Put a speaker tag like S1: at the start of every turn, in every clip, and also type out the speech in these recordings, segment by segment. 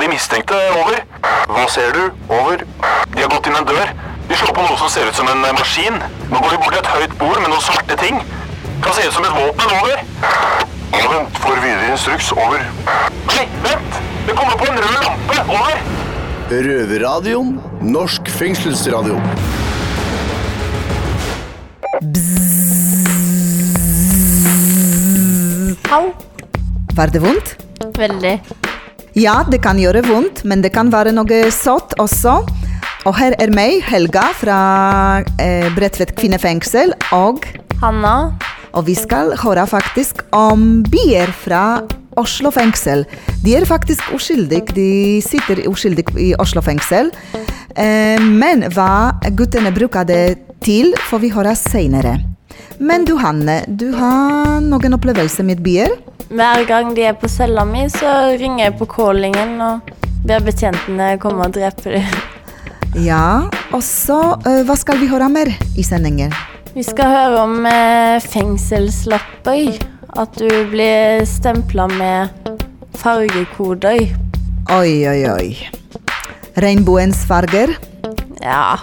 S1: De mistenkte. Over. Hva ser du? Over. De har gått inn en dør. De slår på noe som ser ut som en eh, maskin. Nå går de bort til et høyt bord med noen svarte ting. Kan se ut som et våpen. Over. Vent, får videre instruks. Over. Nei, vent! Det kommer på en rød lampe. Over.
S2: Røverradioen. Norsk fengselsradio.
S3: Au.
S4: Var det vondt?
S3: Veldig.
S4: Ja, det kan gjøre vondt, men det kan være noe sått også. Og her er meg, Helga fra eh, Bredtvet kvinnefengsel, og,
S3: Hanna.
S4: og vi skal høre faktisk om bier fra Oslo fengsel. De er faktisk uskyldige, de sitter uskyldig i Oslo fengsel. Eh, men hva guttene bruker det til, får vi høre senere. Men du Hanne, du har noen opplevelser med bier?
S3: Hver gang de er på cella mi, så ringer jeg på callingen og ber betjentene komme og drepe dem.
S4: Ja, og så eh, hva skal vi høre mer i sendingen?
S3: Vi skal høre om eh, fengselslapper. At du blir stempla med fargekoder.
S4: Oi, oi, oi. Regnbuens farger.
S3: Ja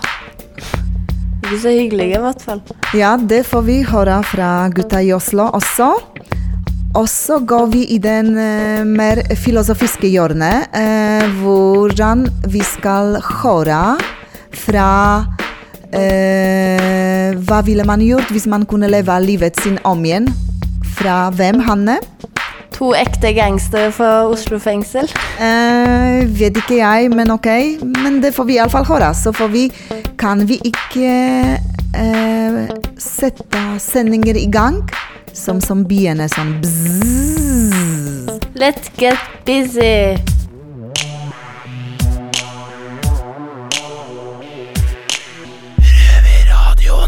S3: Ikke så hyggelige, i hvert fall.
S4: Ja, det får vi høre fra gutta i Oslo også. Og så går vi i den eh, mer filosofiske hjørnet, eh, hvordan vi skal høre fra eh, Hva ville man gjort hvis man kunne leve livet sin om igjen? Fra hvem, Hanne?
S3: To ekte gangstere fra Oslo fengsel.
S4: Eh, vet ikke jeg, men ok. Men det får vi iallfall høre. Så får vi, kan vi ikke eh, sette sendinger i gang som, som biene sånn bzzz.
S3: Let's get busy.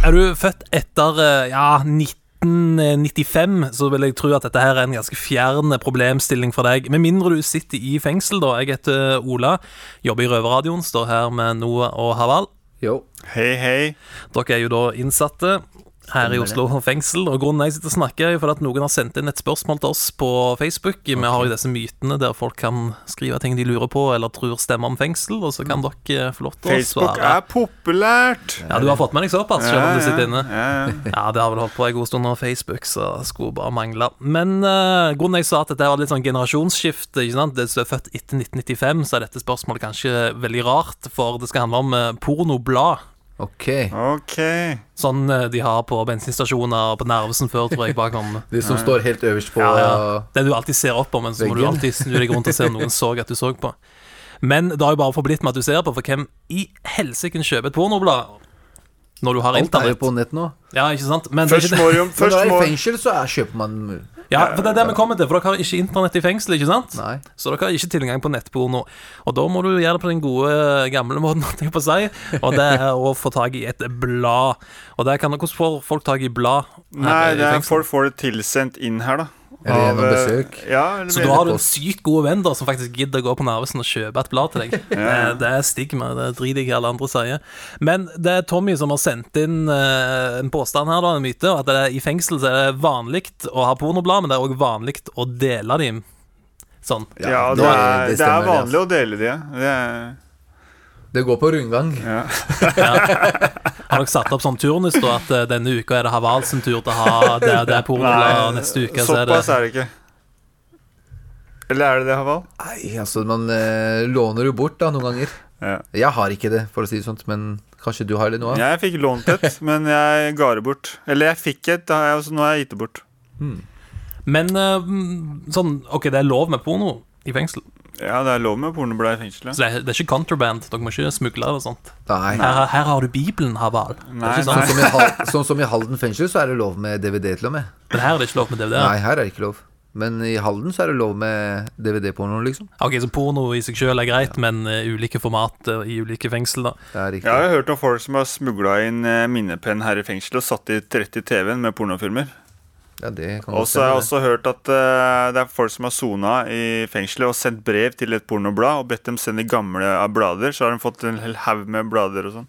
S5: Er du født etter eh, ja, 1995, så vil jeg tro at dette her er en ganske fjern eh, problemstilling for deg. Med mindre du sitter i fengsel, da. Jeg heter eh, Ola, jobber i Røverradioen, står her med Noah og Haval.
S6: Jo.
S7: Hei, hei.
S5: Dere er jo da innsatte her i Oslo fengsel, og grunnen jeg sitter og snakker, er for at noen har sendt inn et spørsmål til oss på Facebook. Vi har jo disse mytene der folk kan skrive ting de lurer på eller tror stemmer om fengsel, og så kan dere eh, få lov til å svare.
S7: Facebook er populært.
S5: Ja, du har fått med deg såpass, selv om du sitter inne.
S7: Ja, ja.
S5: Ja, det har vel holdt på en god stund nå, Facebook, så skulle bare mangle. Men eh, grunnen jeg sa at dette var litt sånn generasjonsskifte, ikke sant? Det som er født etter 1995, så er dette spørsmålet kanskje veldig rart, for det skal handle om eh, pornoblad.
S6: OK.
S7: Ok.
S5: Sånn eh, de har på bensinstasjoner og på Narvesen før, tror jeg, bakom.
S6: De som står helt øverst på
S5: Ja, ja. Det du alltid ser opp på, men så må du
S6: Veggen.
S5: alltid snu deg rundt og se om noen så at du så på. Men det har jo bare forblitt med at du ser på, for hvem i helsike kjøper et pornoblad når du har
S6: Alt er jo
S5: internett?
S6: på nett nå.
S5: Ja, ikke sant? Men det er
S7: Først
S5: ikke det-
S7: må du
S6: Men
S7: først
S6: når du
S7: må,
S6: er i fengsel, så er, kjøper man
S5: Ja, for det er det vi kommer til, for dere har ikke internett i fengsel, ikke sant?
S6: Nei.
S5: Så dere har ikke tilgang på nettporno. Og da må du gjøre det på den gode, gamle måten, holdt jeg på å si, og det er å få tak i et blad. Og der kan Hvordan får folk tak i blad? her
S7: Nei,
S5: i
S7: det er,
S5: fengsel?
S7: folk får det tilsendt inn her, da.
S6: Eller gjennom
S7: eh,
S6: besøk.
S7: Ja, eller
S5: Så da har du en sykt god venn da som faktisk gidder å gå på Narvesen og kjøpe et blad til deg. Eh, Det er stigma, det driter jeg i hva alle andre sier. Men det er Tommy som har sendt inn eh, en påstand her, da, en myte, at det er, i fengsel så er det vanlig å ha pornoblad, men det er òg vanlig å dele dem. Sånn.
S7: ja,
S6: det-
S7: det, er,
S6: det
S7: det er
S6: stemmer, det,
S7: vanlig
S6: altså.
S7: å dele de, ja. Det er,
S6: Det går på rundgang.
S5: Har dere satt opp sånn turnus, da, at eh, denne uka er det Haval sin tur til å ha Ah, det, det er pornoblad, og neste uke så er det
S7: såpass er det ikke. Eller er det det, Haval?
S6: Nei, altså, man eh, låner jo bort da noen ganger.
S7: Ja.
S6: Jeg har ikke det, for å si det sånn, men kanskje du har det nå? Ja.
S7: Jeg fikk lånt et, men jeg ga det bort. Eller jeg fikk et, da har jeg, så nå har jeg gitt det bort.
S5: Men eh, mm, sånn, OK, det er lov med porno i fengsel.
S7: Ja, det er lov med pornoblad i fengsel.
S5: Så det er, det er ikke contraband. Dere må ikke smugle det og sånt.
S6: Nei.
S5: Her, her har du Bibelen, Haval.
S7: Nei,
S5: Det er ikke
S7: nei.
S5: sant?
S6: Som i Hal- Sånn som i Halden fengsel, så er det lov med DVD til og med.
S5: Men her er det ikke lov med DVD.
S6: Nei, her er det ikke lov. Men i Halden så er det lov med DVD-porno, liksom.
S5: Ok, Så porno i seg sjøl er greit, men eh, ulike format eh, i ulike fengsel, da.
S6: Det er riktig.
S7: Jeg har jo hørt om folk som har smugla inn eh, minnepenn her i fengsel og satt de rett i TV-en med pornofilmer.
S6: Ja, det kan
S7: Og
S6: godt
S7: så har jeg
S6: stemme. det.
S7: også hørt at eh, det er folk som har sona i fengselet og sendt brev til et pornoblad og bedt dem sende gamle eh, blader. Så har de fått en hel haug med blader og sånn.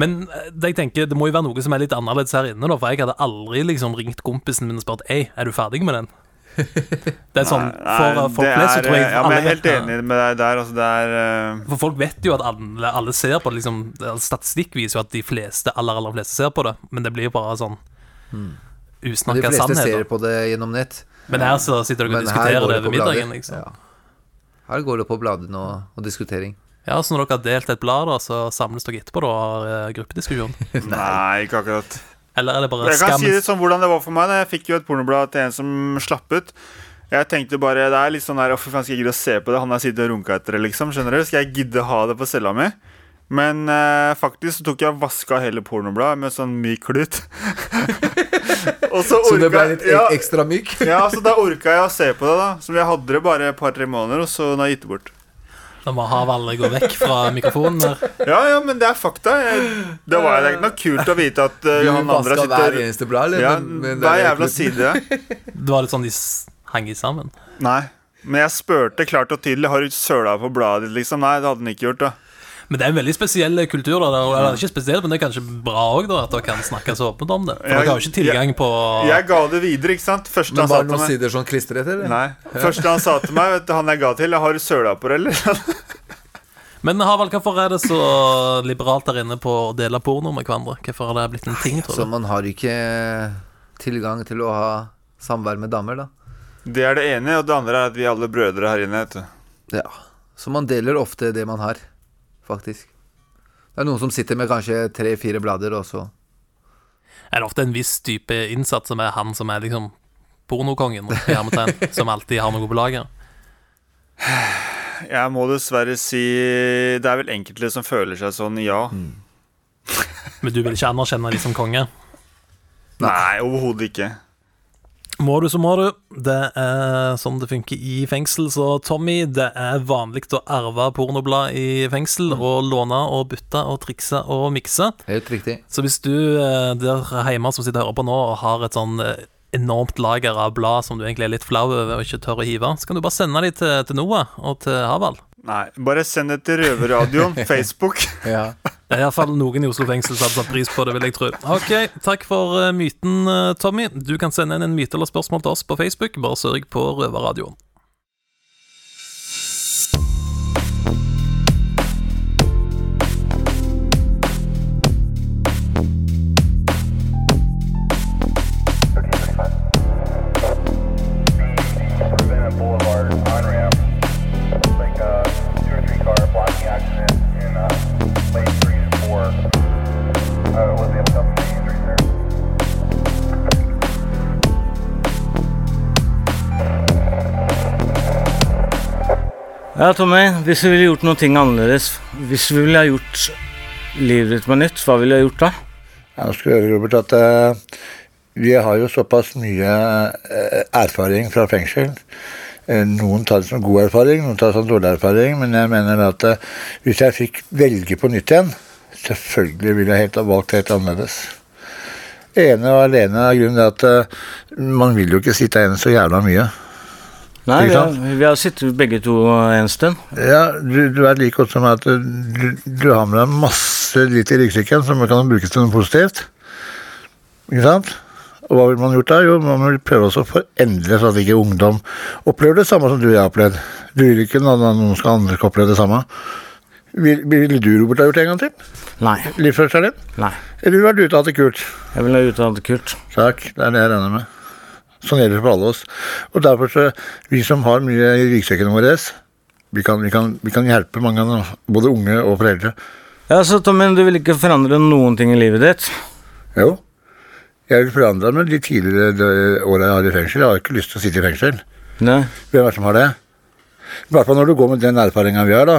S5: Men eh, det jeg tenker, det må jo være noe som er litt annerledes her inne, da. For jeg hadde aldri liksom ringt kompisen min og spurt Ei, er du ferdig med den? Det er sånn, For
S7: Nei,
S5: uh, folk
S7: det
S5: flest så
S7: er,
S5: tror jeg
S7: ja, men jeg er
S5: alle-
S7: helt enig med deg der. Altså, det er eh,
S5: For folk vet jo at alle, alle ser på det. Liksom, statistikk viser jo at de fleste, aller, aller fleste ser på det, men det blir bare sånn
S6: Mm. De
S5: usnakka
S6: fleste ser
S5: sannheter.
S6: på det gjennom nett.
S5: Men her så sitter dere og diskuterer det ved middagen. liksom.
S6: Ja. Her går det på bladene og, og diskutering.
S5: Ja, Så når dere har delt et blad, da, så samles dere etterpå da, og har eh, gruppediskusjon?
S7: Nei, ikke akkurat.
S5: Eller er det bare
S7: Jeg kan
S5: skam?
S7: si litt sånn hvordan det var for meg. da. Jeg fikk jo et pornoblad til en som slapp ut. Jeg tenkte bare, det er litt sånn her, «Å, fy faen, skal jeg gidde å se på det? Han har sittet og runka etter det, liksom. Skjønner du? Skal jeg gidde ha det på cella mi? Men eh, faktisk så tok jeg og vaska hele pornobladet med sånn myk klut. og så
S6: Så det ble
S7: orka
S6: litt
S7: ja,
S6: ek- ekstra myk?
S7: ja, så da orka jeg å se på det, da. Så jeg hadde det bare et par-tre måneder, og så da jeg gitt det bort.
S5: Da må Havalle gå vekk fra mikrofonen. Der.
S7: Ja, ja, men det er fakta. Jeg, det var jo ikke noe kult å vite at eh,
S6: Du
S7: han andre
S6: vaska
S7: sitter
S6: hver eneste blad, eller?
S7: ja,
S6: Men- men det
S7: Hver
S6: er
S7: jævla
S6: kluten.
S7: side.
S5: Det var litt sånn de s- hang i sammen.
S7: Nei, men jeg spurte klart og tydelig Har du søla på bladet ditt, liksom? Nei, det hadde han ikke gjort, da.
S5: Men det er en veldig spesiell kultur. da det er- Eller ikke spesiell, men det er kanskje bra også, da at dere kan snakke så åpent om det. For
S7: Jeg-
S5: Dere har jo ikke tilgang på
S7: Jeg ga det videre, ikke sant? Første
S6: Men
S7: han sa
S6: var det
S7: til
S6: noen
S7: meg
S6: sider sånn klistret, eller?
S7: Nei. Første han sa til meg, vet du, han jeg ga til, har du søla på det, eller?
S5: Men Havald, hvorfor er det så liberalt der inne på å dele porno med hverandre? Hvorfor har det blitt en ting,
S6: Så
S5: tror du?
S6: man har ikke tilgang til å ha samvær med damer, da.
S7: Det er det ene, og det andre er at vi er alle brødre her inne, vet du.
S6: Ja. Så man deler ofte det man har, faktisk. Det er noen som sitter med kanskje tre-fire blader, og så
S5: Er det ofte en viss type innsatt som er han som er liksom pornokongen, i hermetegn, som alltid har noe på lager?
S7: Jeg må dessverre si Det er vel enkelte som føler seg sånn, ja.
S6: Mm.
S5: Men du vil ikke anerkjenne de som konge?
S7: Nei, overhodet ikke.
S5: Må du, så må du. Det er sånn det funker i fengsel. Så Tommy, det er vanlig å arve pornoblad i fengsel, og låne og bytte og trikse og mikse.
S6: Helt riktig.
S5: Så hvis du eh, der hjemme som sitter og hører på nå, og har et sånn eh, enormt lager av blad som du egentlig er litt flau over og ikke tør å hive, så kan du bare sende de til, til Noah og til Havald.
S7: Nei, bare send det til Røverradioen, Facebook.
S6: Ja.
S5: Det er iallfall noen i Oslo fengsel som hadde satt pris på det, vil jeg tro. Ok, takk for eh, myten, eh, Tommy. Du kan sende inn en myte eller spørsmål til oss på Facebook. Bare sørg på Røverradioen.
S8: Savannah Boulevard on ramp. Like uh, two or three car blocking accident in uh, lane three and four. Uh, was able to help me injuries there.
S9: Ja, Tommy, hvis du ville gjort noen ting annerledes, hvis du ville ha gjort livet ditt med nytt, hva ville du ha gjort da?
S10: Jeg skal høre, Robert, at eh, vi har jo såpass mye eh, erfaring fra fengsel. Eh, Noen tar det som god erfaring, noen tar det som dårlig erfaring, men jeg mener at eh, hvis jeg fikk velge på nytt igjen, selvfølgelig ville jeg helt ha valgt helt annerledes. Ene og alene av grunnen er at eh, man vil jo ikke sitte igjen så jævla mye.
S9: Nei,
S10: Ikke
S9: vi har,
S10: sant?
S9: vi har sittet begge to en stund.
S10: Ja, du, du er like godt som meg at eh, du, du har med deg masse dritt i ryggsekken som kan brukes til noe positivt. Ikke sant? Og hva ville man gjort da? Jo, man vil prøve også å forendre sånn at ikke ungdom opplever det samme som du og jeg har opplevd. Du vil ikke at noen skal andre skal oppleve det samme. Vil- Ville du, Robert, ha gjort det en gang til?
S9: Nei.
S10: Livsførselen din?
S9: Nei.
S10: Eller ville du vært ute og hatt det kult?
S9: Jeg ville ha uttalt det kult.
S10: Takk, det er det jeg regner med. Sånn gjelder det for alle oss. Og derfor så, vi som har mye i ryggsekken vår, vi kan, vi, kan, vi kan hjelpe mange, av dem, både unge og foreldre.
S9: Ja, så Tommy, du ville ikke forandre noen ting i livet ditt.
S10: Jo, jeg vil forandre meg de tidligere dø- åra jeg har i fengsel. Jeg har ikke lyst til å sitte i fengsel.
S9: Nei.
S10: Hvem er det som har det? I hvert fall når du går med den erfaringa vi har, da.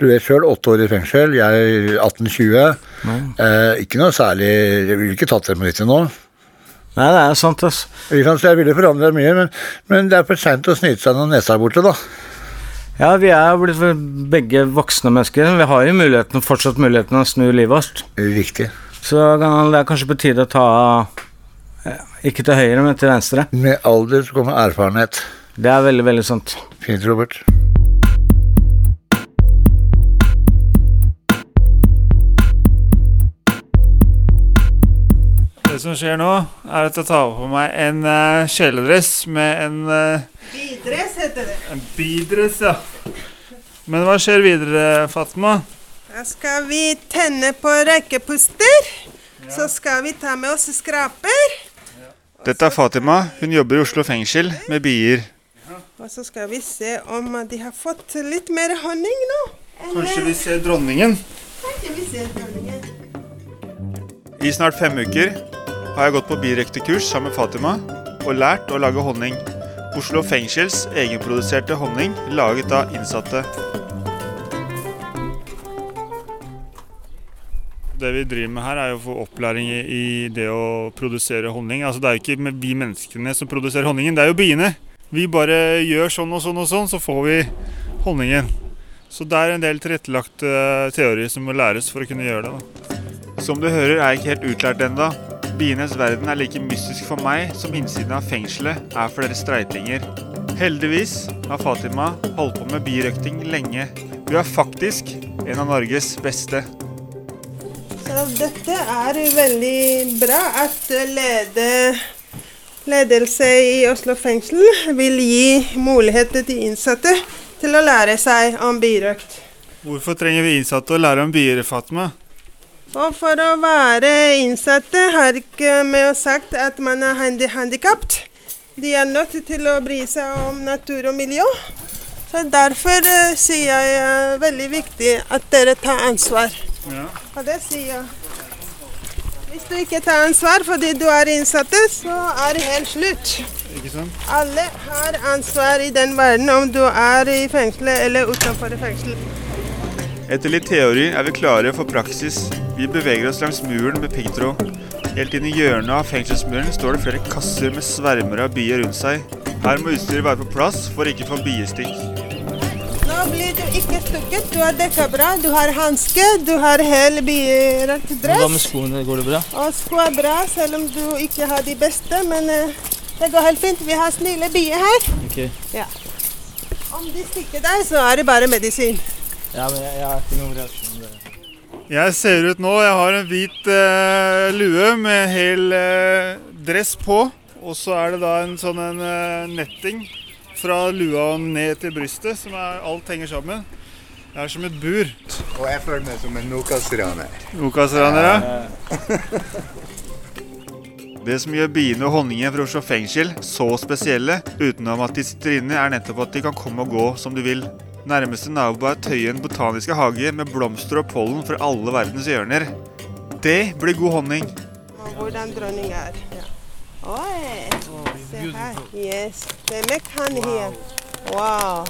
S10: Du vet sjøl, åtte år i fengsel, jeg 18-20. Eh, ikke noe særlig Jeg ville ikke tatt det på nytt nå.
S9: Nei, det er sant, ass.
S10: Ikke sant, så jeg ville forandre mye, men, men det er for seint å snyte seg når nesa er borte, da.
S9: Ja, vi er jo blitt begge voksne mennesker. Vi har jo muligheten, fortsatt muligheten å snu livet vårt.
S10: Riktig.
S9: Så kan- det er kanskje på tide å ta eh, Ikke til høyre, men til venstre.
S10: Med alder så kommer erfarenhet.
S9: Det er veldig, veldig sant.
S10: Fint, Robert.
S7: Det det som skjer nå, er at jeg tar på meg en eh, kjeledress med en eh,
S11: Bidress heter det.
S7: En bidress, ja. Men hva skjer videre, Fatma?
S11: Da skal vi tenne på røykepuster. Så skal vi ta med oss skraper.
S7: Dette er Fatima. Hun jobber i Oslo fengsel med bier.
S11: Og så skal vi se om de har fått litt mer honning nå.
S7: Kanskje vi ser dronningen?
S11: Kanskje vi ser honningen.
S7: I snart fem uker har jeg gått på birøktekurs sammen med Fatima og lært å lage honning. Oslo fengsels egenproduserte honning laget av innsatte. Det vi driver med her, er jo å få opplæring i i det å produsere honning. Altså, det er jo ikke med- vi menneskene som produserer honningen, det er jo biene. Vi bare gjør sånn og sånn og sånn, så får vi honningen. Så det er en del tilrettelagt eh, teori som må læres for å kunne gjøre det. Da. Som du hører, er jeg ikke helt utlært ennå. Bienes verden er like mystisk for meg som innsiden av fengselet er for dere streitinger. Heldigvis har Fatima holdt på med birøkting lenge. Hun er faktisk en av Norges beste.
S11: Så dette er veldig bra at lede, ledelse i Oslo fengsel vil gi muligheter til innsatte til å lære seg om birøkt.
S7: Hvorfor trenger vi innsatte å lære om bier, Fatma?
S11: Og for å være innsatte har ikke med å sagt at man er handi handikappet. De er nødt til å bry seg om natur og miljø. Så derfor eh, sier jeg eh, veldig viktig at dere tar ansvar.
S7: Ja.
S11: Og det sier jeg. Hvis du ikke tar ansvar fordi du er innsatte, så er det helt slutt.
S7: Ikke sant?
S11: Alle har ansvar i den verden, om du er i fengselet eller utenfor fengselet.
S7: Etter litt teori er vi klare for praksis. Vi beveger oss langs muren med piggtråd. Helt inn i hjørnet av fengselsmuren står det flere kasser med svermer av bier rundt seg. Her må utstyret være på plass for ikke å få biestikk.
S11: Nå blir du ikke stukket. Du har dekka bra, du har hanske, du har hel birøkt
S12: Hva med
S11: dress.
S12: skoene? Går det bra?
S11: Og sko er bra, selv om du ikke har de beste. Men eh, det går helt fint. Vi har snille bier her.
S12: Ok.
S11: Ja. Om de stikker deg, så er det bare medisin.
S12: Ja, men jeg, jeg har ikke noen reaksjon.
S7: Jeg ser ut nå. Jeg har en hvit eh, lue med hel eh, dress på. Og så er det da en sånn en, eh, netting fra lua og ned til brystet, som er, alt henger sammen. Det er som et bur.
S13: Og jeg føler meg som en Nokas-raner.
S7: Nokas-raner,
S12: Eh,
S7: Det som gjør biene og honningen fra Oslo fengsel så spesielle, utenom at de strinner, er nettopp at de kan komme og gå som du vil. Nærmeste nabo er Tøyen botaniske hage med blomster og pollen fra alle verdens hjørner. Det blir god honning.
S11: Og hvordan dronning er. Ja. Oi, se her. Yes, they make honey here. Wow.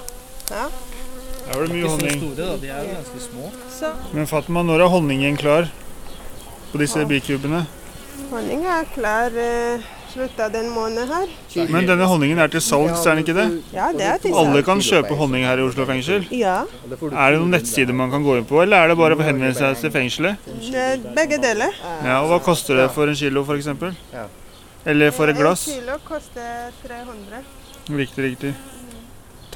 S11: Ja.
S7: Her var det mye honning.
S12: Store, da. De er jo ganske små.
S11: Så
S7: Men Fatma, når er honningen klar på disse bikubene?
S11: honning er klar eh, slutt av den måneden her.
S7: Men denne honningen er til salgs, er den ikke det?
S11: Ja, det er til salgs.
S7: Alle kan kjøpe honning her i Oslo fengsel?
S11: Ja.
S7: Er det noen nettsider man kan gå inn på, eller er det bare å henvende seg til fengselet?
S11: Eh, Begge deler.
S7: Ja, og Hva koster det for en kilo, f.eks.? Eller for et glass?
S11: En kilo koster 300.
S7: Riktig, riktig.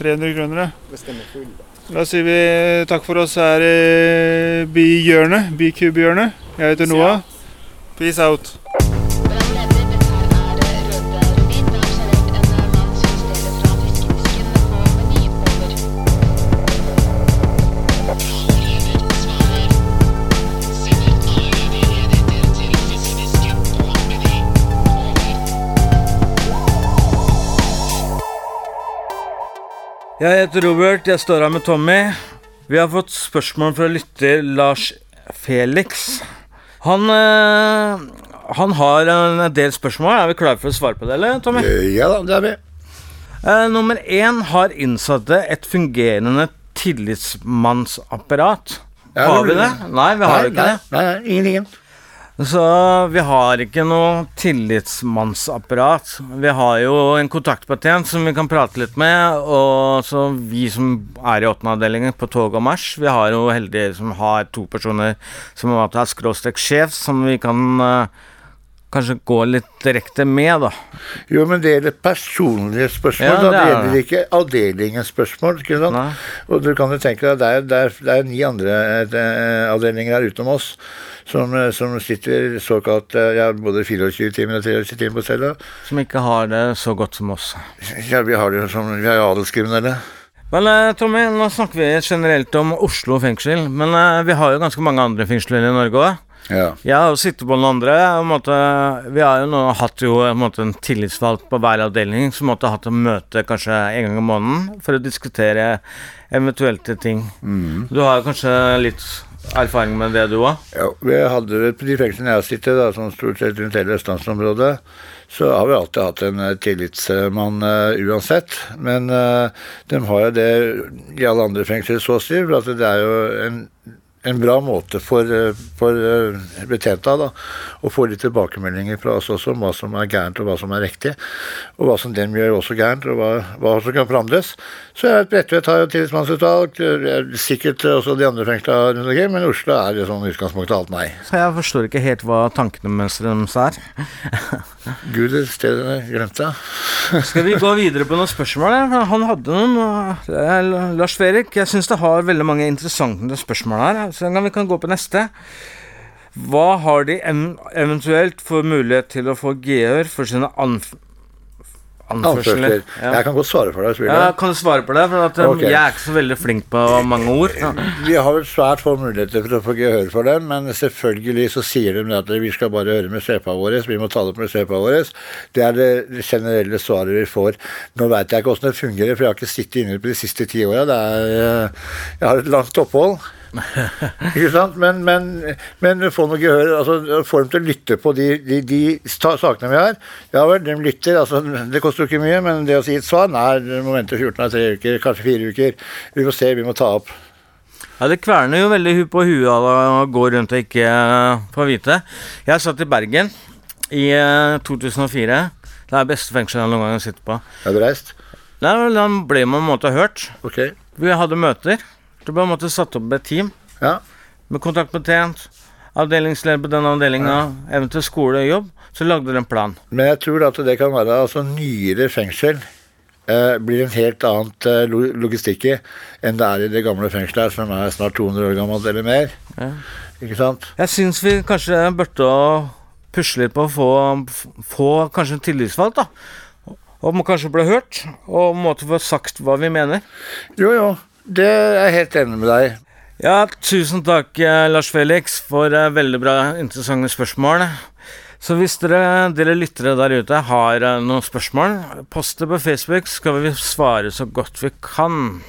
S7: 300 kroner, ja. Da sier vi takk for oss her i Bihjørnet. Bikubhjørnet. Jeg heter Noah. Peace out.
S9: Jeg heter Robert, jeg står her med Tommy. Vi har fått spørsmål fra lytter Lars Felix. Han, eh, han har en del spørsmål. Er vi klare for å svare på det, eller, Tommy?
S10: Ja da, det er vi.
S9: Eh, nummer én har innsatte et fungerende tillitsmannsapparat.
S10: Ja,
S9: har vi det?
S10: det-
S9: Nei, vi har
S10: Nei,
S9: ikke
S10: nei,
S9: det. Nei, Ingenting. Så vi har ikke noe tillitsmannsapparat. Vi har jo en kontaktpatient som vi kan prate litt med, og så vi som er i åttende avdelingen på tog og marsj, vi har jo heldige som har to personer som har skråstrek sjef, som vi kan eh, kanskje gå litt direkte med, da.
S10: Jo, men det gjelder personlige spørsmål.
S9: Ja,
S10: da.
S9: det
S10: det
S9: er
S10: gjelder
S9: det.
S10: ikke avdelingens spørsmål. Ikke sant? Og du kan jo tenke deg, det er, det er, det er ni andre eh, avdelinger her utenom oss som, eh, som sitter såkalt eh, ja, både 24 timer og 23 timer på cella.
S9: Som ikke har det så godt som oss.
S10: Ja, vi har det jo som Vi er jo adelskriminelle.
S9: Men eh, Tommy, nå snakker vi generelt om Oslo fengsel, men eh, vi har jo ganske mange andre fengsler i Norge òg.
S10: Ja.
S9: Jeg har jo sittet på den andre. eh, og på en måte, vi har jo nå hatt jo, eh, på en, måte, en tillitsvalgt på hver avdeling som måtte hatt et møte kanskje en gang i måneden for å diskutere eventuelle ting. Du har jo kanskje litt erfaring med det, du òg?
S10: Ja, vi hadde vel på de fengslene jeg har sittet, da, som stort sett rundt hele østlandsområdet, så har vi alltid hatt en eh, tillitsmann eh, uansett. Men eh, de har jo det i alle andre fengsler, så å si. For at det er jo en, en bra måte for, eh, for eh, betjenta da, å få litt tilbakemeldinger fra oss også om hva som er gærent og hva som er riktig. Og hva som dem gjør også gærent, og hva, hva som kan forandres. Så jeg vet Bredtvet har jo tillitsmannsutvalg, eh, sikkert også de andre fengslene rundt omkring, men Oslo er jo sånn i utgangspunktet alt nei.
S9: Så jeg forstår ikke helt hva tankene mens deres er.
S10: Gud, det stedet jeg glemte.
S9: Skal vi gå videre på noen spørsmål? ja? For Han hadde noen. og- Eh, Lars Ferik, jeg syns det har veldig mange interessante spørsmål her, så vi kan gå på neste. Hva har de em- eventuelt for mulighet til å få gehør for sine anf
S10: Anførsler.
S9: anførsler? Ja.
S10: Jeg kan godt svare for deg. hvis du vil.
S9: Ja, kan du svare på det? For at, eh,
S10: Ok. Eh,
S9: jeg er ikke så veldig flink på mange ord.
S10: Vi har vel svært få muligheter for å få gehør for den, men selvfølgelig så sier de det at vi skal bare høre med sjefa vår, vi må tale opp med sjefa vår. Det er det generelle svaret vi får. Nå veit jeg ikke åssen det fungerer, for jeg har ikke sittet inne på de siste ti åra. Det er, eh, Jeg har et langt opphold. Ikke sant? Men, men, men få noe gehør. altså Få dem til å lytte på de, de, de sta- sakene vi har. Ja vel, de lytter. altså Det koster jo ikke mye, men det å si et svar Nei, du må vente 14 av tre uker, kanskje fire uker. Vi får se, vi må ta opp.
S9: Ja, Det kverner jo veldig hu på huet av å gå rundt og ikke eh, få vite. Jeg satt i Bergen i eh, 2004. Det er beste fengselet jeg noen gang har sittet på.
S10: Er du reist?
S9: Nei, vel, Da ble man på en måte hørt.
S10: Ok.
S9: Vi hadde møter. Det ble på en måte satt opp et team
S10: Ja.
S9: med kontaktbetjent, avdelingsleder på den avdelinga, eventuelt skole og jobb. Så lagde de en plan.
S10: Men jeg tror at det kan være altså nyere fengsel eh, blir en helt annet eh, lo- logistikk i enn det er i det gamle fengselet her, som er snart 200 år gammelt eller mer. Ikke sant?
S9: Jeg syns vi kanskje burde å pusle litt på å få, få kanskje en tillitsvalgt, da. Og må kanskje bli hørt, og måtte få sagt hva vi mener.
S10: Jo, jo. Det er jeg helt enig med deg.
S9: Ja, tusen takk, eh, Lars Felix, for eh, veldig bra, interessante spørsmål. Så hvis dere, dere lyttere der ute har eh, noen spørsmål, post det på Facebook, så skal vi svare så godt vi kan.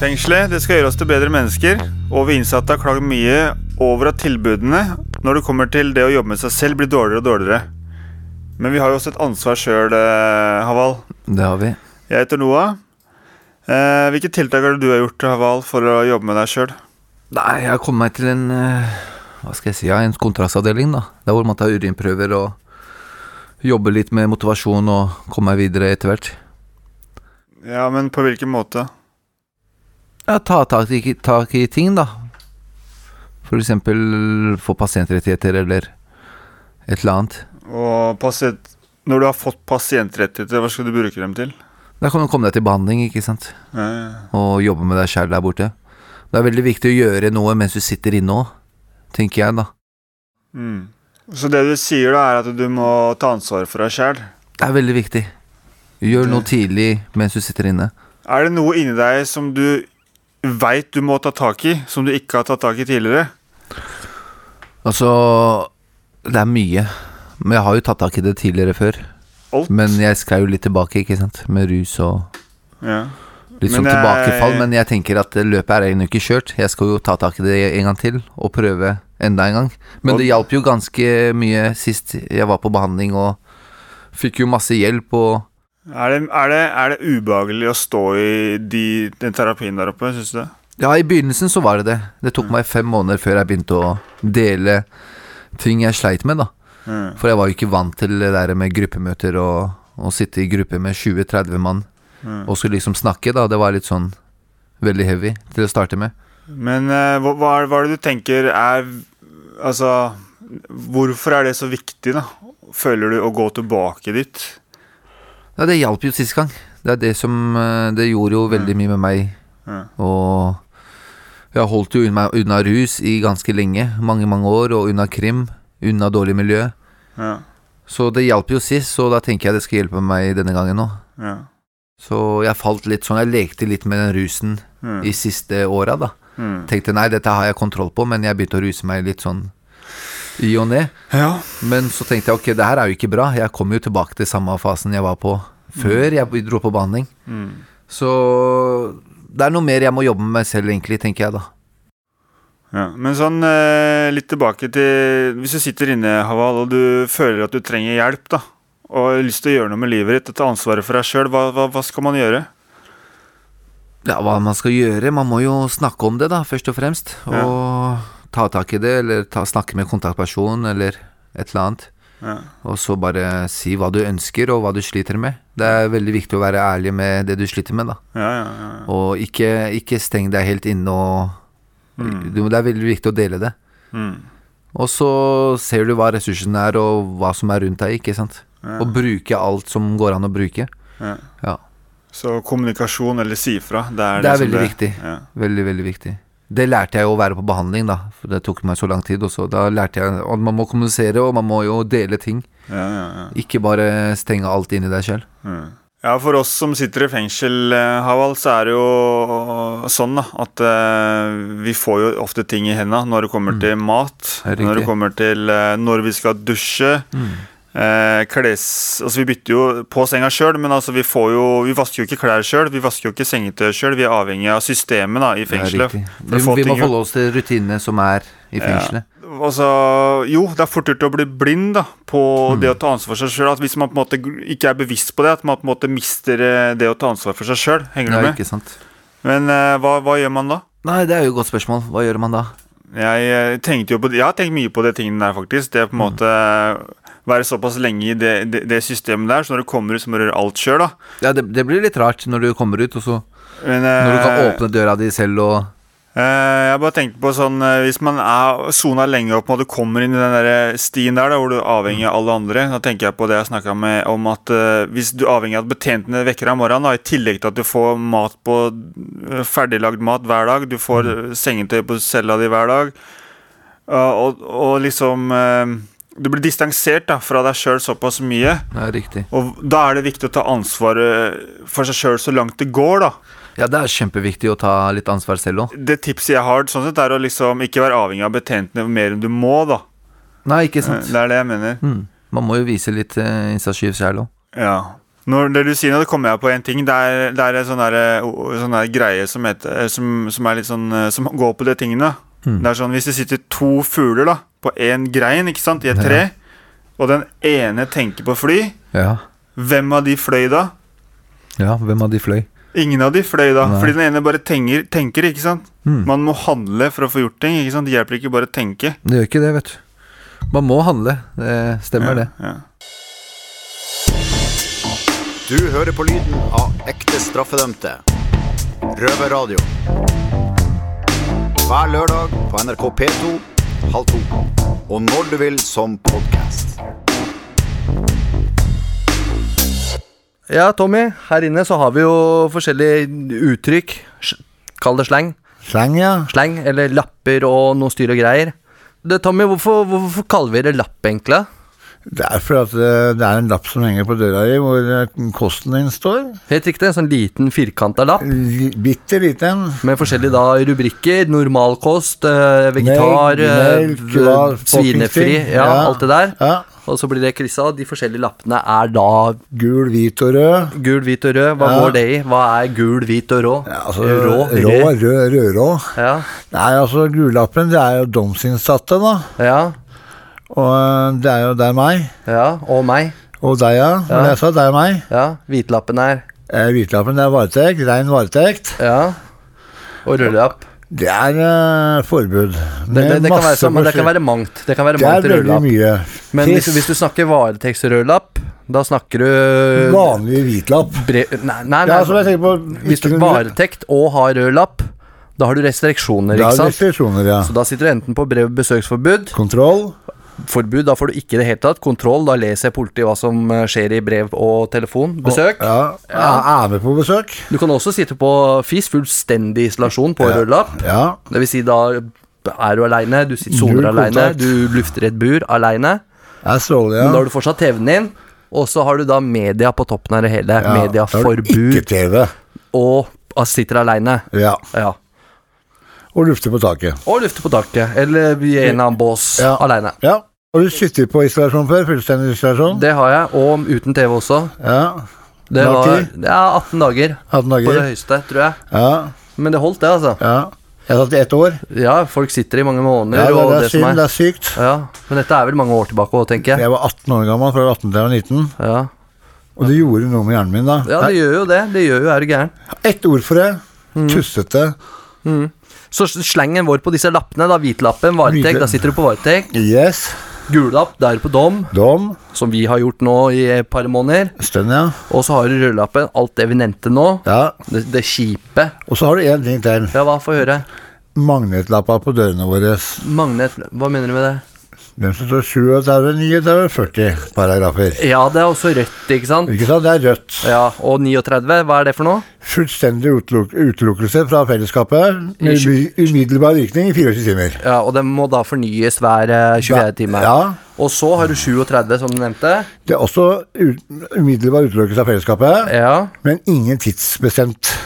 S7: Fengselet det skal gjøre oss til bedre mennesker, og vi innsatte har klaget mye over at tilbudene når det kommer til det å jobbe med seg selv, blir dårligere og dårligere. Men vi har jo også et ansvar sjøl, Haval.
S6: Det har vi.
S7: Jeg heter Noah. Eh, hvilke tiltak har du gjort Haval, for å jobbe med deg sjøl?
S6: Nei, jeg har kommet meg til en eh, Hva skal jeg si, ja, en kontrastavdeling, da. Der hvor man tar urinprøver og jobber litt med motivasjon og kommer meg videre etter hvert.
S7: Ja, men på hvilken måte?
S6: Ja, ta tak i, tak i ting, da. For eksempel få pasientrettigheter eller et eller annet.
S7: Og pasient, når du har fått pasientrettigheter, hva skal du bruke dem til?
S6: Da kan du komme deg til behandling, ikke sant?
S7: Ja, ja, ja.
S6: Og jobbe med deg sjæl der borte. Det er veldig viktig å gjøre noe mens du sitter inne òg, tenker jeg, da.
S7: Mm. Så det du sier, da, er at du må ta ansvar for deg sjæl?
S6: Det er veldig viktig. Gjør noe tidlig mens du sitter inne.
S7: Er det noe inni deg som du veit du må ta tak i, som du ikke har tatt tak i tidligere?
S6: Altså, det er mye. Men jeg har jo tatt tak i det tidligere før.
S7: Alt.
S6: Men jeg sklei jo litt tilbake, ikke sant. Med rus og
S7: Ja.
S6: litt sånn
S7: Men, eh,
S6: tilbakefall. Men jeg tenker at løpet er ennå ikke kjørt. Jeg skal jo ta tak i det en gang til, og prøve enda en gang. Men det hjalp jo ganske mye sist jeg var på behandling, og fikk jo masse hjelp og
S7: Er det, er, det, er det ubehagelig å stå i de, den terapien der oppe, syns du?
S6: Ja, i begynnelsen så var det det. Det
S7: Mm.
S6: tok meg fem måneder før jeg begynte å dele ting jeg sleit med, da.
S7: Mm.
S6: For jeg var jo ikke vant til det der med gruppemøter og å sitte i gruppe med 20-30 mann
S7: Mm.
S6: og skulle liksom snakke, da. Det var litt sånn veldig heavy til å starte med.
S7: Men eh, hva, hva, er, hva er det du tenker er Altså, hvorfor er det så viktig, da? Føler du å gå tilbake dit?
S6: Ja, det hjalp jo sist gang. Det er det som eh, Det gjorde jo veldig mye med meg.
S7: Mm.
S6: Og jeg holdt jo unna, unna rus i ganske lenge. Mange, mange år. Og unna krim. Unna dårlig miljø.
S7: Ja.
S6: Så det hjalp jo sist, så da tenker jeg det skal hjelpe meg denne gangen òg.
S7: Ja.
S6: Så jeg falt litt sånn Jeg lekte litt med den rusen
S7: Mm.
S6: i siste åra, da.
S7: Mm.
S6: Tenkte nei, dette har jeg kontroll på, men jeg begynte å ruse meg litt sånn i og ned.
S7: Ja.
S6: Men så tenkte jeg ok, det her er jo ikke bra. Jeg kom jo tilbake til samme fasen jeg var på før jeg dro på behandling.
S7: Mm.
S6: Så det er noe mer jeg må jobbe med meg selv, egentlig, tenker jeg da.
S7: Ja, men sånn eh, litt tilbake til Hvis du sitter inne, Haval, og du føler at du trenger hjelp, da, og har lyst til å gjøre noe med livet ditt og ta ansvaret for deg sjøl, hva, hva, hva skal man gjøre?
S6: Ja, hva man skal gjøre? Man må jo snakke om det, da, først og fremst. Og
S7: Ja.
S6: ta tak i det, eller ta, snakke med kontaktperson, eller et eller annet.
S7: Ja.
S6: Og så bare si hva du ønsker, og hva du sliter med. Det er veldig viktig å være ærlig med det du sliter med, da.
S7: Ja, ja, ja.
S6: Og ikke, ikke steng deg helt inne og
S7: Mm.
S6: Du- Det er veldig viktig å dele det.
S7: Mm.
S6: Og så ser du hva ressursene er, og hva som er rundt deg, ikke sant.
S7: Ja.
S6: Og bruke alt som går an å bruke.
S7: Ja.
S6: Ja.
S7: Så kommunikasjon eller si fra, det er,
S6: Det er
S7: som
S6: veldig viktig.
S7: Ja.
S6: Veldig, veldig viktig. Det lærte jeg jo å være på behandling, da. For det tok meg så lang tid også. Da lærte jeg at man må kommunisere, og man må jo dele ting.
S7: Ja, ja, ja.
S6: Ikke bare stenge alt inni deg selv.
S7: Mm. Ja, for oss som sitter i fengsel, eh, Haval, så er det jo sånn da, at eh, vi får jo ofte ting i hendene når det kommer til mat,
S6: Mm. Det
S7: når
S6: er
S7: det
S6: riktig. Mm.
S7: kommer til eh, når vi skal dusje, eh, kles... Altså, vi bytter jo på senga sjøl, men altså, vi får jo Vi vasker jo ikke klær sjøl, vi vasker jo ikke sengetøy sjøl, vi er avhengig av systemet da, i
S6: Det er
S7: fengselet.
S6: riktig.
S7: for å
S6: Vi,
S7: få
S6: vi må
S7: ting gjort.
S6: forholde oss til rutinene som er i
S7: Ja.
S6: fengselet.
S7: Altså, jo, det er fort gjort å bli blind da, på
S6: Mm.
S7: det å ta ansvar for seg sjøl. Hvis man på en måte ikke er bevisst på det, at man på en måte mister eh, det å ta ansvar for seg sjøl. Henger
S6: Ja,
S7: du
S6: ikke
S7: med?
S6: sant.
S7: Men eh, hva, hva gjør man da?
S6: Nei, det er jo et godt spørsmål. Hva gjør man da?
S7: Jeg, eh, tenkte jo på, det- jeg har tenkt mye på det tingene der, faktisk. Det er på
S6: Mm.
S7: en måte eh, være såpass lenge i det, det, det systemet der, så når du kommer ut, så må du gjøre alt sjøl, da.
S6: Ja, det, det blir litt rart når du kommer ut, og så
S7: Men,
S6: Når du kan
S7: eh,
S6: åpne døra di selv og
S7: Eh, Jeg bare tenkte på sånn eh, Hvis man er sona lenge og på en måte kommer inn i den der stien der da, hvor du er avhengig av alle andre Da tenker jeg på det jeg snakka med om at eh, hvis du er avhengig av at betjentene vekker deg om morgenen, da, i tillegg til at du får mat på eh, ferdiglagd mat hver dag, du får eh,
S6: Mm.
S7: sengetøy på cella di hver dag eh, og, og liksom eh, Du blir distansert da, fra deg sjøl såpass mye.
S6: Det er riktig.
S7: Og da er det viktig å ta ansvaret for seg sjøl så langt det går, da.
S6: Ja, det er kjempeviktig å ta litt ansvar selv òg.
S7: det tipset jeg har, sånn sett, er å liksom ikke være avhengig av betjentene mer enn du må, da. Eh,
S6: Nei, ikke sant.
S7: Det er det jeg mener.
S6: Mm. Man må jo vise litt uh, initiativ selv òg.
S7: Ja. Når det du sier nå, det kommer jeg på en ting. Det er, det er en sånn der, o- sånn der greie som, heter, eh, som, som er litt sånn eh, Som går på de tingene.
S6: Mm.
S7: Det er sånn hvis det sitter to fugler da på én grein, ikke sant, i et
S6: Ja.
S7: tre, og den ene tenker på fly,
S6: Ja.
S7: hvem av de fløy da?
S6: ja, hvem av de fløy?
S7: Ingen av de fløy da,
S6: Nei.
S7: fordi den ene bare tenker, tenker ikke sant?
S6: Mm.
S7: Man må handle for å få gjort ting, ikke sant? Det hjelper ikke bare å tenke.
S6: Det gjør ikke det, vet du. Man må handle. Det stemmer, det.
S2: Du hører på lyden av ekte straffedømte. Røverradio. Hver lørdag på NRK P2 halv to. Og når du vil som podkast.
S14: Ja, Tommy, her inne så har vi jo forskjellige uttrykk. Sj- Kall det slang. Slang, ja. Slang, Eller lapper og noe styr og greier. Det, Tommy, hvorfor, hvorfor kaller vi det lapp, egentlig?
S10: Det er fordi at eh, det er en lapp som henger på døra di, hvor eh, kosten din står.
S14: Helt riktig, en sånn liten firkanta lapp.
S10: Bitte liten.
S14: Med forskjellige da rubrikker. Normalkost, eh, vegetar, eh,
S10: melk, hva,
S14: svinefri,
S10: folketing,
S14: ja,
S10: ja,
S14: alt det der. Og så blir det kryssa, og de forskjellige lappene er da
S10: Gul, hvit og rød.
S14: Gul, hvit og rød. Hva
S10: Ja.
S14: går det i? Hva er gul, hvit og rå?
S10: Altså, rå, rød, rødrå. Nei, altså Gullappen, det er jo domsinnsatte, da. Og eh, det er jo det er meg.
S14: Og meg.
S10: Og deg, ja. Men jeg sa deg og meg.
S14: Ja, Hvitlappen er
S10: eh, Hvitlappen er varetekt. Rein varetekt.
S14: Ja. Og rødlapp.
S10: Det er eh, forbud.
S14: Det, det, det, kan være, så- men det kan være
S10: mange
S14: mangt. Det kan være
S10: Det er
S14: mangt
S10: veldig
S14: rødlapp.
S10: mye.
S14: Men hvis,
S10: Tiss.
S14: hvis du snakker varetektsrødlapp, da snakker du
S10: Vanlig hvitlapp.
S14: Bre nei, nei, nei.
S10: Ja, som jeg tenker på,
S14: hvis du
S10: ikke noe-
S14: varetekt og har rødlapp, da har du restriksjoner,
S10: Da er
S14: ikke
S10: det
S14: sant?
S10: restriksjoner, ja.
S14: Så da sitter du enten på brev besøksforbud
S10: Kontroll.
S14: Forbud, da får du ikke i det hele tatt. Kontroll, da leser politiet hva som eh, skjer i brev og telefon. Besøk.
S10: Ja, Er med på besøk.
S14: Du kan også sitte på FIS, fullstendig isolasjon på rødlapp. Det vil si da er du aleine, du sitter
S10: Null
S14: soler aleine,
S10: kontakt.
S14: du lufter et bur aleine.
S10: ja.
S14: Men da har du fortsatt TV-en din, og så har du da media på toppen av det hele.
S10: Ja,
S14: Medieforbud. Og altså, sitter aleine.
S10: Ja.
S14: ja.
S10: Og lufte på taket.
S14: Og lufter på taket, eller i en eller annen bås
S10: Ja.
S14: aleine.
S10: Ja. Har du sittet på isolasjon før? Fullstendig isolasjon?
S14: Det har jeg, og uten TV også.
S10: Ja.
S14: Det
S10: Lang
S14: var
S10: tid?
S14: ja, 18 dager
S10: 18 dager.
S14: på det høyeste, tror jeg.
S10: Ja.
S14: Men det holdt, det, altså.
S10: Ja. Jeg satt i ett år.
S14: Ja, folk sitter i mange måneder.
S10: Ja, det,
S14: og
S10: det, er
S14: som
S10: synd, det er sykt.
S14: Ja, men dette er vel mange år tilbake òg, tenker jeg.
S10: Jeg var 18 år gammel, fra 18 til jeg var 19. Og det gjorde noe med hjernen min da.
S14: Ja, det gjør jo det. Det gjør jo er du gæren.
S10: Ett ord for det. Tussete.
S14: Mm. Så s- slengen vår på disse lappene, da. Hvitlappen, varetekt. Da sitter du på varetekt.
S10: Yes.
S14: Gullapp, da er du på dom.
S10: Dom.
S14: Som vi har gjort nå i et par måneder.
S10: Stund, ja.
S14: Og så har du rødlappen. Alt det vi nevnte nå.
S10: Ja.
S14: Det, det kjipe.
S10: Og så har du én ting til.
S14: Ja, hva? Få høre.
S10: Magnetlappa på dørene våre.
S14: Magnet Hva mener du med det?
S10: Den som står 37, 39, 40 paragrafer.
S14: Ja, det er også rødt, ikke sant?
S10: Ikke sant, Det er rødt.
S14: Ja, Og 39, hva er det for noe?
S10: Fullstendig uteluk utelukkelse fra fellesskapet med
S14: I tjue-
S10: umy- umiddelbar virkning i 24 timer.
S14: Ja, Og den må da fornyes hver eh, 24 time.
S10: Ja.
S14: Og så har du 37, som du nevnte.
S10: Det er også ut umiddelbar utelukkelse av fellesskapet, men ingen tidsbestemt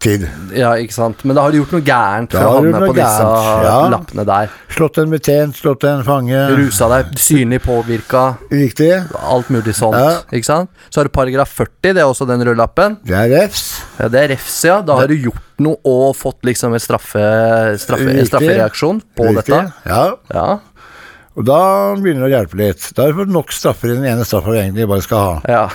S10: tid.
S14: Ja, ikke sant. Men da har du gjort noe gærent
S10: Da
S14: for å
S10: har du
S14: havne
S10: gjort
S14: på
S10: noe
S14: disse
S10: gærent, ja.
S14: lappene der.
S10: Slått en betjent, slått en fange
S14: Rusa deg, synlig påvirka.
S10: Riktig.
S14: Alt mulig sånt. Ikke sant? Så har du paragraf 40, det er også den rødlappen.
S10: Det er refs.
S14: Ja, det er refs, ja. Da har du gjort noe og fått liksom en straffe, straffe, en
S10: Riktig.
S14: straffereaksjon på
S10: Riktig,
S14: dette.
S10: Ja.
S14: ja.
S10: Og da begynner det å hjelpe litt. Da har du fått nok straffer i den ene straffa du egentlig bare skal ha.
S14: Ja.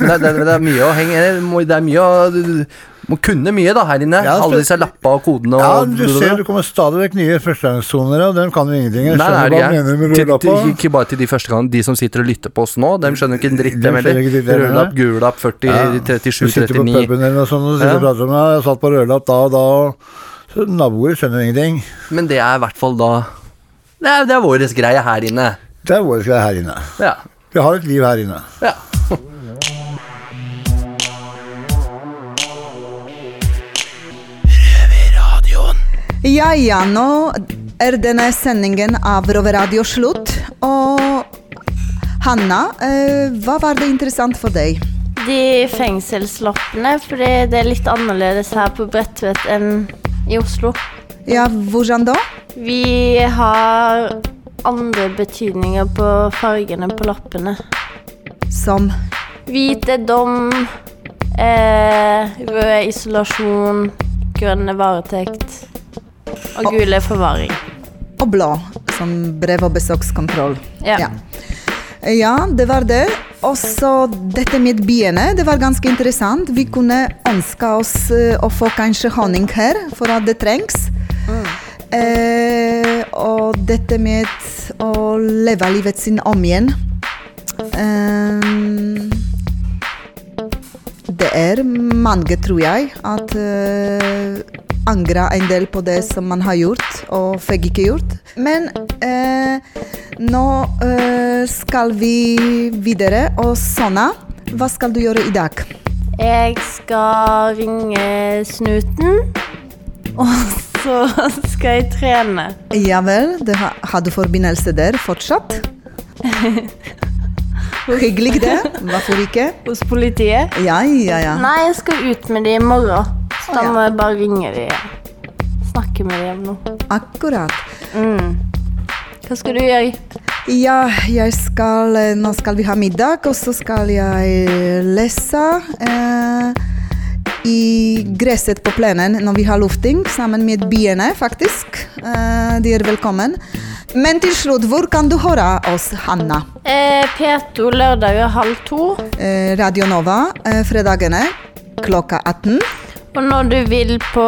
S14: Men det, det, det er mye å henge må- Det er mye å du, du må kunne mye da her inne.
S10: Ja,
S14: Alle disse lappa og kodene og
S10: Ja, du ser det kommer stadig vekk nye førstegangssonere, og dem kan jo ingenting. Jeg
S14: Nei, nei,
S10: skjønner
S14: de
S10: hva du
S14: er-
S10: mener med
S14: til-
S10: rullelappa.
S14: til- Ikke bare til de første gangene, de som sitter og lytter på oss nå. De skjønner jo ikke en dritt, dem heller.
S10: skjønner ikke dritt, dem heller.
S14: Rullapp, gulapp, 40,
S10: Ja.
S14: 37,
S10: Du sitter på
S14: 39.
S10: puben eller noe sånt og sitter
S14: Ja.
S10: og prater om det. Jeg satt på rødlapp da og da, og så naboer skjønner ingenting.
S14: Men det er i hvert fall da Det er, det er vår greie her inne.
S10: Det er vår greie her inne.
S14: Ja.
S10: Vi har et liv her inne.
S14: ja.
S4: Ja, ja, nå er denne sendingen av Roveradio slutt. Og Hanna, eh, hva var det interessant for deg?
S3: De fengselsloppene, fordi det er litt annerledes her på Bredtvet enn i Oslo.
S4: Ja, hvordan da?
S3: Vi har andre betydninger på fargene på loppene.
S4: Som
S3: Hvit er dom, eh, rød er isolasjon, grønn er varetekt, og gul er forvaring.
S4: og blå, som brev- og besøkskontroll.
S3: Ja.
S4: Ja, det var det. Og så dette med biene, det var ganske interessant. Vi kunne ønske oss eh, å få kanskje honning her, for at det trengs. Eh, og dette med å leve livet sin om igjen. Eh, det er mange, tror jeg, at uh, angrer en del på det som man har gjort, og fikk ikke gjort. Men eh, nå eh, skal vi videre. Og Sanna, hva skal du gjøre i dag?
S3: Jeg skal ringe snuten, og så skal jeg trene.
S4: Ja vel, det ha, har du forbindelse der fortsatt? Hyggelig det, hvorfor ikke?
S3: Hos politiet?
S4: Ja, ja, ja.
S3: Nei, jeg skal ut med de i morgen. Så da må jeg bare ringe de. Snakke med de om noe.
S4: Akkurat.
S3: Mm. Hva skal du gjøre?
S4: Ja, jeg skal, eh, nå skal vi ha middag, og så skal jeg lese eh, i gresset på plenen når vi har lufting, sammen med biene, faktisk. Eh, de er velkommen. Men til slutt, hvor kan du høre oss, Hanna?
S3: Eh, P2 lørdager halv to.
S4: Eh, Radio Nova, eh, fredagene klokka 18.
S3: Og når du vil på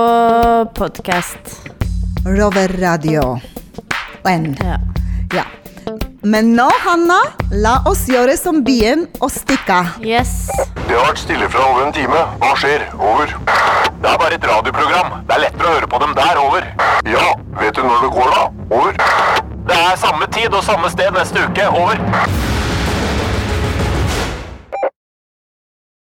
S3: podkast.
S4: Roverradio. N. Ja. Men nå, Hanna, la oss gjøre som byen og stikke.
S3: Yes.
S1: Det har vært stille fra over en time. Hva skjer? Over. Det er bare et radioprogram. Det er lettere å høre på dem der. Over. Ja, vet du når det går, da? Over. Det er samme tid og samme sted neste uke. Over.